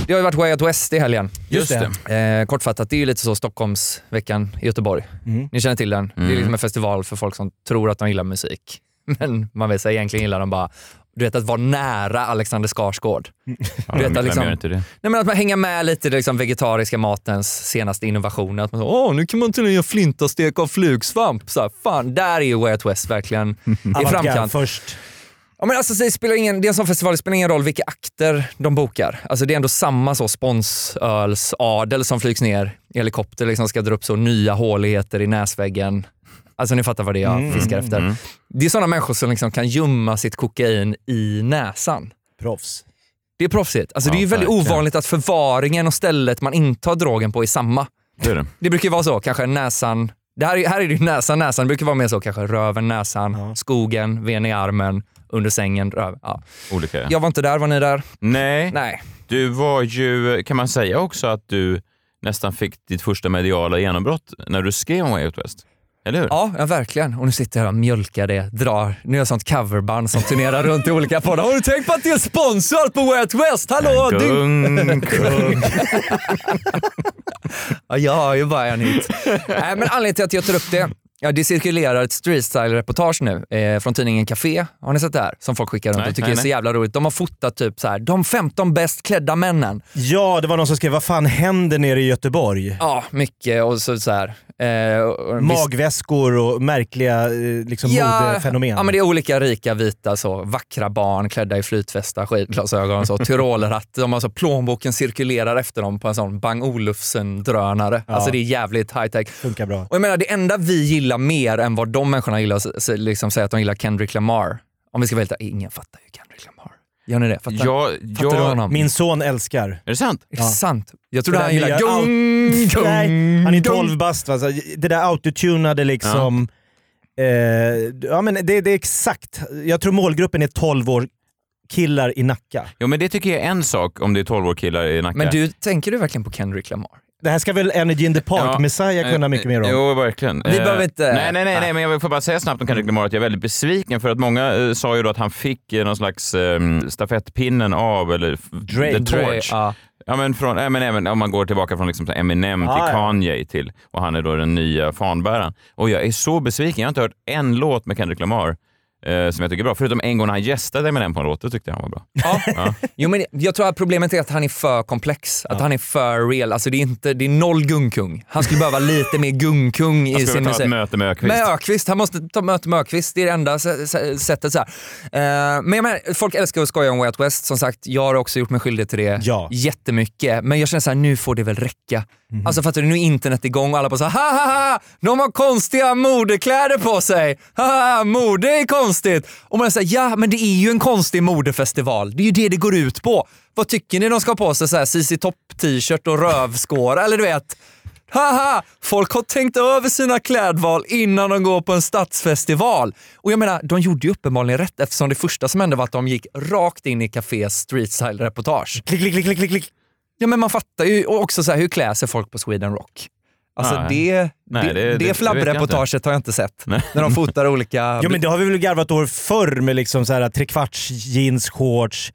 Det har ju varit Way Out West i helgen. Just det. Eh, kortfattat, det är ju lite så Stockholmsveckan i Göteborg. Ni känner till den. Det är liksom en festival för folk som tror att de gillar musik. [LAUGHS] Men man vet sig egentligen gillar de bara, du vet att vara nära Alexander Skarsgård. Ja, Du vet, vem- vem liksom- gör inte det? Nej, men att man hänger med lite i den liksom, vegetariska matens senaste innovationer. Att man så, Åh, nu kan man tydligen göra flintastek av flugsvamp. Så här, fan, där är ju Way Out West verkligen i Avantgarde framkant. först. Ja, men alltså, det, spelar ingen, det är en sån festival, det spelar ingen roll vilka akter de bokar. Alltså, det är ändå samma så sponsölsadel som flygs ner i helikopter, liksom ska dra upp så nya håligheter i näsväggen. Alltså ni fattar vad det är jag Mm. fiskar efter. Det är såna människor som liksom kan gömma sitt kokain i näsan. Proffs. Det är proffsigt. Alltså, det är ju Ja, väldigt verkligen. ovanligt att förvaringen och stället man intar drogen på är samma. det, är det. Det brukar ju vara så, kanske näsan, det här, är- här är det ju näsan, näsan. Det brukar vara mer så kanske röven, näsan, skogen, ven i armen, under sängen, röv. Ja. Olika. Jag var inte där, var ni där? Nej, Nej. du var ju, kan man säga också att du nästan fick ditt första mediala genombrott när du skrev om Way Out West? Eller hur? Ja, ja, verkligen. Och nu sitter jag här och mjölkar det, drar. Nu är jag sånt coverband som turnerar runt i olika poddar. Har du tänkt på att det är sponsor på Way Out West? Hallå! Ding. Kung, [LAUGHS] kung. Ja, jag har ju bara en hit. [LAUGHS] Nej, men anledningen till att jag tar upp det, ja, det cirkulerar ett streetstyle-reportage nu eh, från tidningen Café. Har ni sett det här? Som folk skickar runt Nej, och tycker nej, är så nej. jävla roligt. De har fotat typ så här, de 15 bäst klädda männen. Ja, det var någon som skrev vad fan händer nere i Göteborg? Ja, mycket och så, så här. Eh, och- och- Magväskor och märkliga eh, liksom, modefenomen. Ja, men det är olika rika vita, så, vackra barn klädda i flytvästar, [LAUGHS] skidglasögon, så, tyrolratt. De har så, plånboken cirkulerar efter dem på en sån Bang Olufsen-drönare. Alltså det är jävligt high-tech. Funkar bra. Och jag menar, det enda vi gillar mer än vad de människorna gillar, så- så liksom säga att de gillar Kendrick Lamar. Om vi ska välja, ingen fattar ju Kendrick Lamar. Gör ni det? Fattar, Jag, fattar du jag, honom? Min son älskar. är det sant? Är det sant? Jag trodde Det där han gillade... nya Gung, gung, Nej, han är gung. 12 bast. va, så Det där autotunade liksom. Eh, ja, men det, det är exakt. Jag tror målgruppen är 12 år killar i Nacka. Jo, men det tycker jag är en sak om det är 12 år killar i Nacka. Men du, tänker du verkligen på Kendrick Lamar? Det här ska väl Energy in the Park, Ja. Eh, Messiah kunna mycket mer om? Jo, verkligen. Eh, Vi behöver inte- Ah. Nej, nej, nej, Nej. nej, men jag får bara säga snabbt om Kendrick Lamar att jag är väldigt besviken för att många eh, sa ju då att han fick eh, någon slags eh, stafettpinnen av, eller f- Drake. The Dre- Torch. ja. Ja, men från, nej, men även om man går tillbaka från liksom så Eminem Ah, ja. till Kanye till, och han är då den nya fanbäraren. Och jag är så besviken. Jag har inte hört en låt med Kendrick Lamar eh, som jag tycker är bra. Förutom en gång när han gästade Eminem på en låt, då tyckte jag han var bra. Ja. Jo, men jag tror att problemet är att han är för komplex, att han är för real. Alltså, det, är inte, det är noll gungkung. Han skulle behöva lite mer gungkung i Jag sin skulle ta musik. ett möte med Öqvist. Med Ökvist. Han måste ta möte med Ökvist. Det är det enda sä- sä- sättet. Så här. Eh, men jag menar, folk älskar att skoja om Way Out West. Som sagt, jag har också gjort mig skyldig till det Ja. jättemycket. Men jag känner så här, nu får det väl räcka. Alltså fattar du, nu är internet igång och alla bara så här, ha ha ha, de har konstiga modekläder på sig. Ha, ha, ha, mode är konstigt. Och man säger ja, men det är ju en konstig modefestival. Det är ju det det går ut på. Vad tycker ni de ska ha på sig? Så här, CC Topp-t-shirt och rövskåra eller du vet. Haha! Folk har tänkt över sina klädval innan de går på en stadsfestival. Och jag menar, de gjorde ju uppenbarligen rätt eftersom det första som hände var att de gick rakt in i Cafés streetstyle-reportage. Klick, klick, klick, klick, klick, klick. Ja men man fattar ju och också så här, hur klär sig folk på Sweden Rock? Alltså Nej. det, Nej, det- det, det, det- det vet jag flabbreportaget har jag inte sett. När de fotar olika... [LAUGHS] Jo, men det har vi väl garvat år förr med liksom så här, trekvarts jeans, shorts,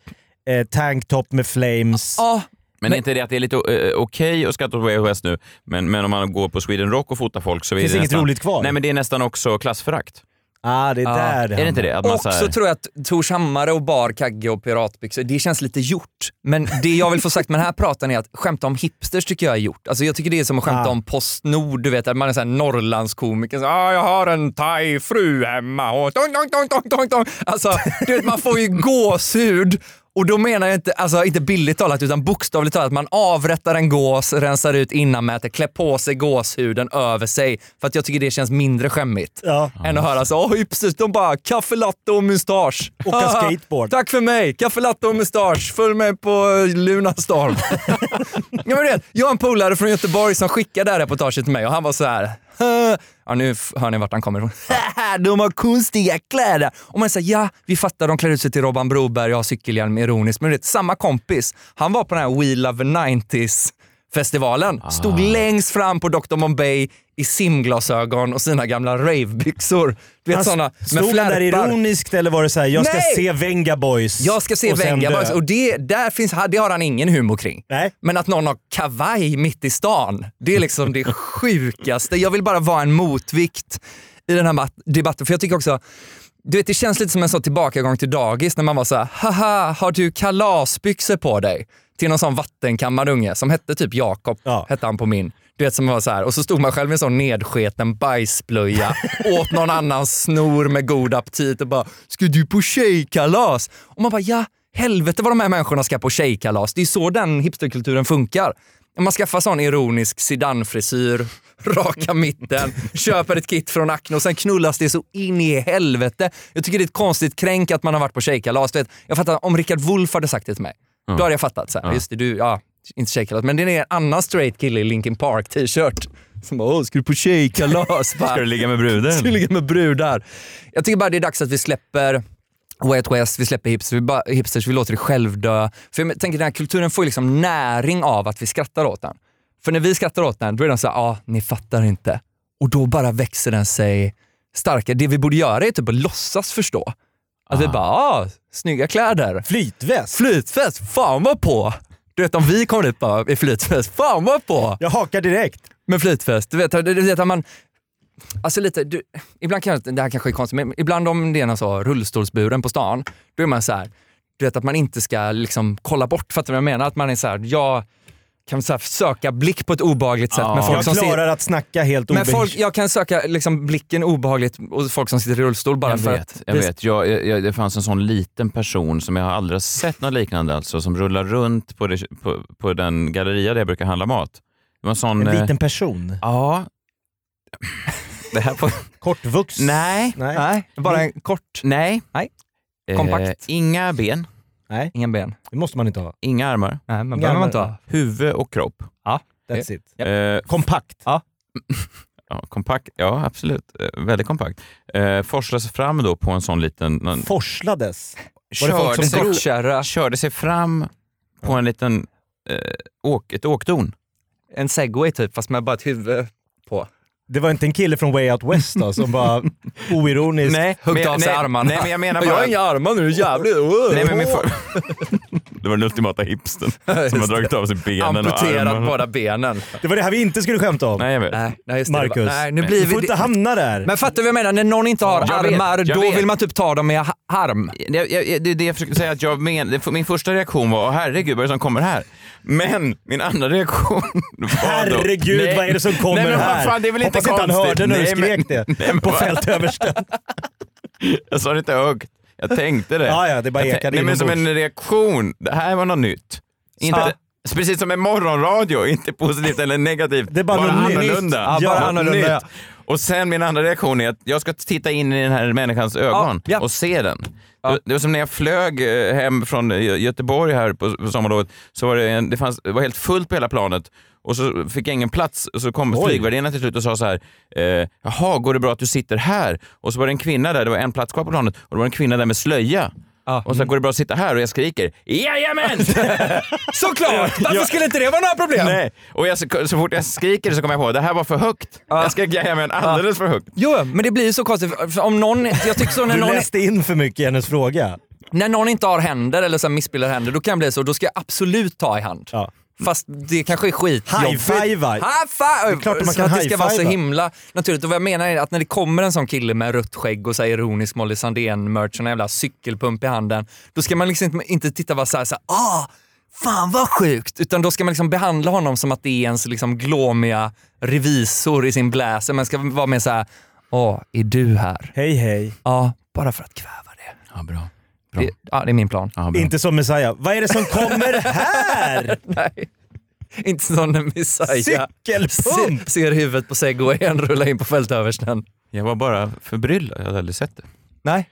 eh, tanktop med flames. Ja, Men är inte det att det är lite eh, okej att skatta på Way Out West nu, men, men om man går på Sweden Rock och fotar folk så är Finns det inget nästan, roligt kvar. Nej, men det är nästan också klassförakt. Ah, det är där Är det inte hamnar. det? Att man och så så här, tror jag att Tors Hammare och bar, kagge och piratbyxor, det känns lite gjort. Men det jag vill få sagt med den här pratan är att skämta om hipsters tycker jag är gjort. Alltså jag tycker det är som att skämta Ja. om Postnord, du vet att man är såhär Norrlandskomiker. Så, ah, jag har en thai-fru hemma och tong, tong, tong, tong, tong, tong. Alltså, du vet man får ju gåshud. Och då menar jag inte, alltså inte bildligt talat utan bokstavligt talat, man avrättar en gås, rensar ut innanmätet, klär på sig gåshuden över sig. För att jag tycker det känns mindre skämmigt Ja. än att höra så åh hipsters, de bara kaffe latte och mustasch. Åka Haha, skateboard. [LAUGHS] Tack för mig, kaffe latte och mustasch. Följ mig på eh, Lunarstorm. ja, men du vet, jag har en polare från Göteborg som skickade det här reportaget till mig och han var så här. "Hä?" Ja, nu f- hör ni vart han kommer ifrån. [LAUGHS] "Haha, de har konstiga kläder. Och man säger ja, vi fattar, de klär ut sig till Robban Broberg och har cykelhjälm ironiskt. Men du vet, samma kompis, han var på den här We Love the 90s festivalen. Ah. Stod längst fram på Dr. Bombay i simglasögon och sina gamla ravebyxor. Du vet Han sådana Alltså, med Alltså, Stod där flärpar. ironiskt eller var det så här, jag ska Nej! se Venga Boys Jag ska se och sen Venga dö? Boys och det, där finns, det har han ingen humor kring. Nej. Men att någon har kavaj mitt i stan, det är liksom det sjukaste. Jag vill bara vara en motvikt i den här mat- debatten. För jag tycker också, du vet det känns lite som en sån tillbakagång till dagis när man var så här, haha, har du kalasbyxor på dig? Till någon sån vattenkammad unge som hette typ Jakob, Ja. hette han på min. Du vet som var så här, och så stod man själv med en sån nedsketen bajsblöja, åt någon annans snor med god aptit och bara “ska du på tjejkalas?” Och man bara “ja, helvete vad de här människorna ska på tjejkalas”. Det är så den hipsterkulturen funkar. Man skaffar sån ironisk sedanfrisyr, [LAUGHS] raka mitten, köper ett kit från Acne och sen knullas det så in i helvete. Jag tycker det är ett konstigt kränk att man har varit på tjejkalas. Du vet, jag fattar, om Rickard Wolff hade sagt det till mig, då hade jag fattat. Så här, Just det, du, ja, inte tjejkalas, men det är en annan straight kille i Linkin Park t-shirt. Som bara, "Åh, ska du på [LAUGHS] tjejkalas? Ska du ligga med bruden? Ska du ligga med brudar? Jag tycker bara det är dags att vi släpper Way Out West, vi släpper hipsters, vi, bara, hipsters, vi låter det självdö. För jag tänker den här kulturen får ju liksom näring av att vi skrattar åt den. För när vi skrattar åt den, då är de såhär, ja, ah, ni fattar inte. Och då bara växer den sig starkare. Det vi borde göra är typ att låtsas förstå. Att vi bara, ah, snygga kläder. Flytväst? Flytväst, fan vad på! Du vet om vi kom dit bara i flytväst, fan vad på! Jag hakar direkt. Med flytväst, du vet, du vet att man... Alltså lite, du, ibland kan jag, det här kanske är konstigt, men ibland om det är någon så rullstolsburen på stan, då är man så här, du vet att man inte ska liksom kolla bort, fattar du vad jag menar? Att man är så här, jag kan så här söka blick på ett obehagligt sätt med folk Jag som ser... klarar att snacka helt Men folk, obehindrat. jag kan söka liksom blicken obehagligt hos folk som sitter i rullstol bara Jag för vet, att... jag vet. Jag, jag, jag, det fanns en sån liten person som jag har aldrig sett något liknande alltså, som rullar runt på, det, på, på den galleria där jag brukar handla mat. Det var en sån... En eh, liten person. Ja. Det här på... Kortvuxen. Nej. Nej. Nej, bara en kort, Nej. Nej. Eh, Kompakt. inga ben, ingen ben. Det måste man inte ha. inga armar, Nej, men behöver man inte ha. huvud och kropp. That's it. Eh, Kompakt. ja, kompakt, ja absolut. Eh, väldigt kompakt. Eh, forslades fram då på en sån liten... Någon, Forslades. Var det folk körde, som sig, drog? Skottkärra, körde sig fram på en liten... Eh, åk, ett åkdon. en segway typ, fast med bara ett huvud på. Det var inte en kille från Way Out West då, som bara oironiskt... Huggde men- av sig nej, armarna. Nej, men [LAUGHS] jag [LAUGHS] menar Jag har bara... inga armar nu, [LAUGHS] jävligt. Nej, men min for... [LAUGHS] det var den ultimata hipsten som har dragit av sig benen och Amputerat armarna. båda benen. Det var det här vi inte skulle skämta om. Nej, jag vet. Nej, nej, just det. Marcus. Det var- Nej, nu blir Du får vi... inte hamna där. Men fattar du vad jag menar? När någon inte har Jag vet, armar, jag då vet. vill man typ ta dem med ha- harm. Jag, jag, det är det jag försöker säga. Att jag men, det- min första reaktion var, "Åh, herregud vad är det som kommer här? Men min andra reaktion [LAUGHS] var då, Herregud, Nej. vad är det som kommer nej, men, vad här? Fan, det är väl inte Hoppas inte han konstigt. hörde när du nej, men, skrek det nej, men på vad- fältöversten. Jag sa det inte högt. Jag tänkte det. Ja, ja, det bara Jag tän- ekade nej, men Som inombords. en reaktion. Det här var något nytt. Inte, Ja. Precis som en morgonradio, inte positivt eller negativt. Det är bara något nytt. annorlunda. Ja, bara Något annorlunda, nytt. ja. Och sen min andra reaktion är att jag ska titta in i den här människans ögon ja. och se den. Det- Det var som när jag flög eh, hem från eh, Göteborg här på, på sommarlovet. Så var det, en, det, fanns, det var helt fullt på hela planet och så fick jag ingen plats. Och så kom flygvärdinnan till slut och sa så här, eh, jaha, går det bra att du sitter här? Och så var det en kvinna där, det var en plats kvar på planet, och det var en kvinna där med slöja. Och så går det bra att sitta här? Och jag skriker jajamän! [LAUGHS] Såklart! Varför skulle inte det vara några problem? Nej. Och jag, så, så fort jag skriker så kommer jag på det här var för högt. Jag skrek jajamän alldeles för högt. Jo, men det blir ju så konstigt. för- för Om någon, jag tycker så när Du någon, läste in för mycket i hennes fråga. när någon inte har händer eller så här missbildade händer, då kan jag bli så. Då ska jag absolut ta i hand. Ja. Fast det kanske är skitjobbigt. High-fiva. High-five! är klart att man Så kan att det ska vara så high-fiva. himla naturligt. Och vad jag menar är att när det kommer en sån kille med rött skägg och så här ironisk Molly Sandén-merch och en jävla cykelpump i handen, då ska man liksom inte- inte titta bara så här, så här ah, fan vad sjukt! Utan då ska man liksom behandla honom som att det är ens liksom glåmiga revisor i sin blazer. Man ska vara mer så här, åh, är du här? Hej hej. Ja, bara för att kväva det. Ja, bra. Det, ja, det är min plan. [LAUGHS] Ja, bra. Inte som Messiah. Vad är det som kommer [LAUGHS] här? Nej. Inte sån när Messiah Cykelpump! ser, ser huvudet på segwayen rulla in på fältöversten. Jag var bara förbryllad, jag hade aldrig sett det. Nej.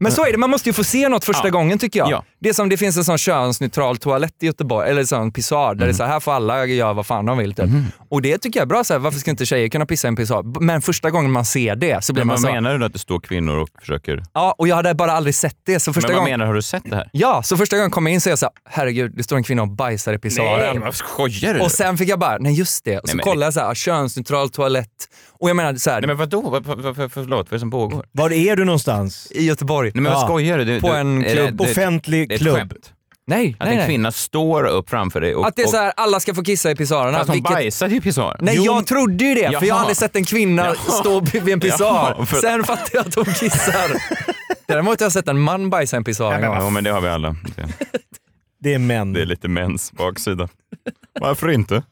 Men så är det, man måste ju få se något första Ja. gången tycker jag. Ja. Det är som det finns en sån könsneutral toalett i Göteborg, eller en sån pissoar, där det är Mhm. så här, här får alla göra vad fan de vill. Typ. Och det tycker jag är bra, så här, varför ska inte tjejer kunna pissa i en pissoar? B- Men första gången man ser det så blir Men man vad så, menar du då att det står kvinnor och försöker... ja och jag hade bara aldrig sett det. Så första men vad gången, menar du, har du sett det här? ja, så första gången kom jag in så är jag så här, herregud det står en kvinna och bajsar i pissoaren. vad skojar du? Och sen fick jag bara, nej just det. Och Nej, så men- kollade jag så här, könsneutral toalett. Och jag menar så här, Nej men vadå? Vad, vad, vad, förlåt, vad är det som pågår? Var är du någonstans? i Göteborg. Nej men vad Ja, skojar du? du på du, är en det- klubb. Det, det, Offentlig det är ett klubb. skämt. nej, Att nej, en nej. kvinna står upp framför dig och... Att det är och- så här, alla ska få kissa i pissoarerna. Fast hon vilket- bajsade ju i pissoaren. Nej, Jo, men- jag trodde ju det, för jag har Jaha. aldrig sett en kvinna Jaha. stå vid en pissoar. Jaha, för- Sen fattade jag att hon kissar. Däremot har jag sett en man bajsa i en pissoar. en gång. Ja, men det har vi alla. Det- Det är män. Det är lite mäns baksida. Varför inte?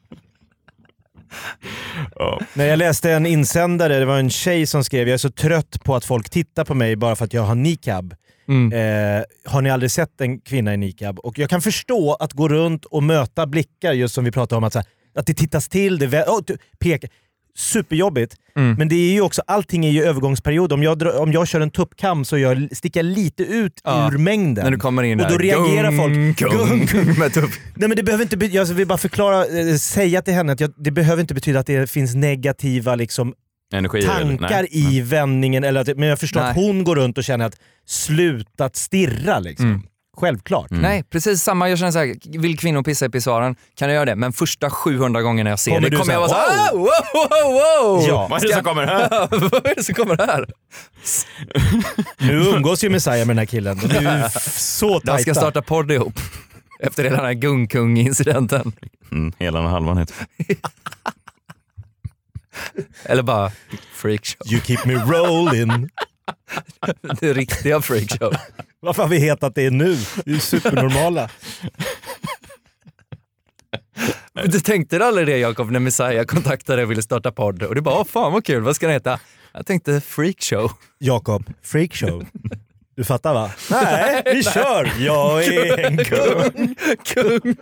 Ja. När jag läste en insändare, det var en tjej som skrev “Jag är så trött på att folk tittar på mig bara för att jag har niqab. Mm. Eh, har ni aldrig sett en kvinna i niqab?” Och jag kan förstå att gå runt och möta blickar, just som vi pratade om, att, så här, att det tittas till, det vä- oh, du- pekar. Superjobbigt. Mm. Men det är ju också, allting är ju övergångsperiod. Om jag, drar- om jag kör en tuppkam så jag, sticker jag lite ut Ja, ur mängden. När du kommer in Och där. då reagerar gung, folk. Mm. Gung, gung, med tupp. Nej men det behöver inte betyda, jag vill bara förklara, eh, säga till henne att jag, det behöver inte betyda att det finns negativa liksom, Energi tankar nej. i vändningen. Eller att, men jag förstår Nej. att hon går runt och känner att slutat stirra. Liksom. Självklart. Nej, precis samma. Jag känner så här, vill kvinnor pissa i pissoaren kan jag göra det, men första 700 gångerna jag ser Kommer det du kommer jag vara så så här, här, wow, wow, wow. Ja. Vad är det som kommer här? [LAUGHS] Vad är det som kommer här? Nu umgås ju Messiah med den här killen. De är ju f- så tajta. De ska starta podd ihop. [LAUGHS] Efter hela den här Gung-Kung-incidenten. Mm, hela den här halvan heter Eller bara freakshow. You keep me rolling. [LAUGHS] Det riktiga freakshow. Varför har vi hetat det nu? Det är ju supernormala. [LAUGHS] Men Du tänkte du aldrig det Jakob, när Messiah kontaktade och ville starta podd? Och du bara, Åh, fan vad kul, vad ska den heta? Jag tänkte freakshow. Jakob, freakshow. Du fattar va? Nej, vi kör! Jag är en kung. Kung!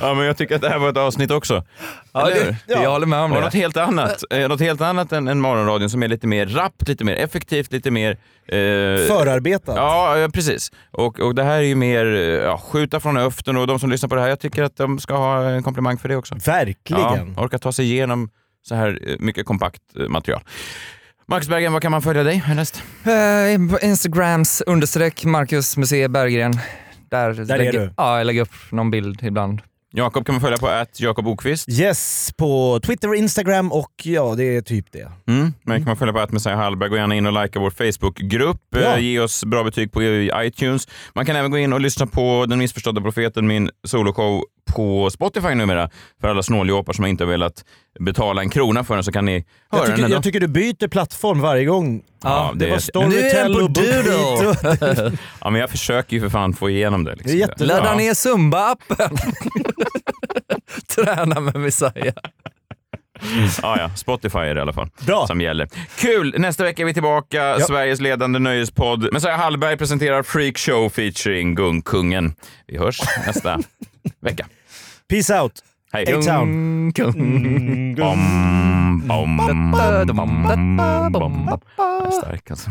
Ja, men jag tycker att det här var ett avsnitt också. Ja, Eller det, hur? Jag håller med om Och något det. helt annat. Eh, något helt annat än, än morgonradion som är lite mer rappt, lite mer effektivt, lite mer... eh, Förarbetat. Ja, ja, precis. Och, och det här är ju mer eh, ja, skjuta från höften och de som lyssnar på det här, jag tycker att de ska ha en komplimang för det också. Verkligen. Ja, orka ta sig igenom så här eh, mycket kompakt eh, material. Marcus Bergen, var kan man följa dig härnäst? Eh, på Instagrams understreck Marcus Museer Berggren. Där, är lägger, du. Ja, jag lägger upp någon bild ibland. Jakob kan man följa på att Jakob Okvist. Yes, på Twitter, Instagram och ja, det är typ det. Mm. Men kan man följa på att Messiah Hallberg. Gå gärna in och likea vår Facebookgrupp. Ja. Eh, Ge oss bra betyg på iTunes. Man kan även gå in och lyssna på Den missförstådda profeten, min soloshow på Spotify numera. För alla snåljåpar som inte har velat betala en krona för den så kan ni höra Jag tycker, den ändå. jag tycker du byter plattform varje gång. Ja, det, det- var Nu är den Storytel på och BookBeat. och- Doodle! Ja, men jag försöker ju för fan få igenom det. Liksom. Det är jättebra. Ladda Ja. ner Zumba-appen! [LAUGHS] Träna med Messiah. Ja, ja. Spotify är det i alla fall Bra. som gäller. Kul! Nästa vecka är vi tillbaka. Sveriges ledande nöjespodd. Messiah Hallberg presenterar Freak Show featuring Gungkungen. Vi hörs [LAUGHS] nästa vecka. Peace [LAUGHS] out. Hej! A-Town. Mm, Bom, bom, bom, bom, bom, bom. Jag är Stark alltså.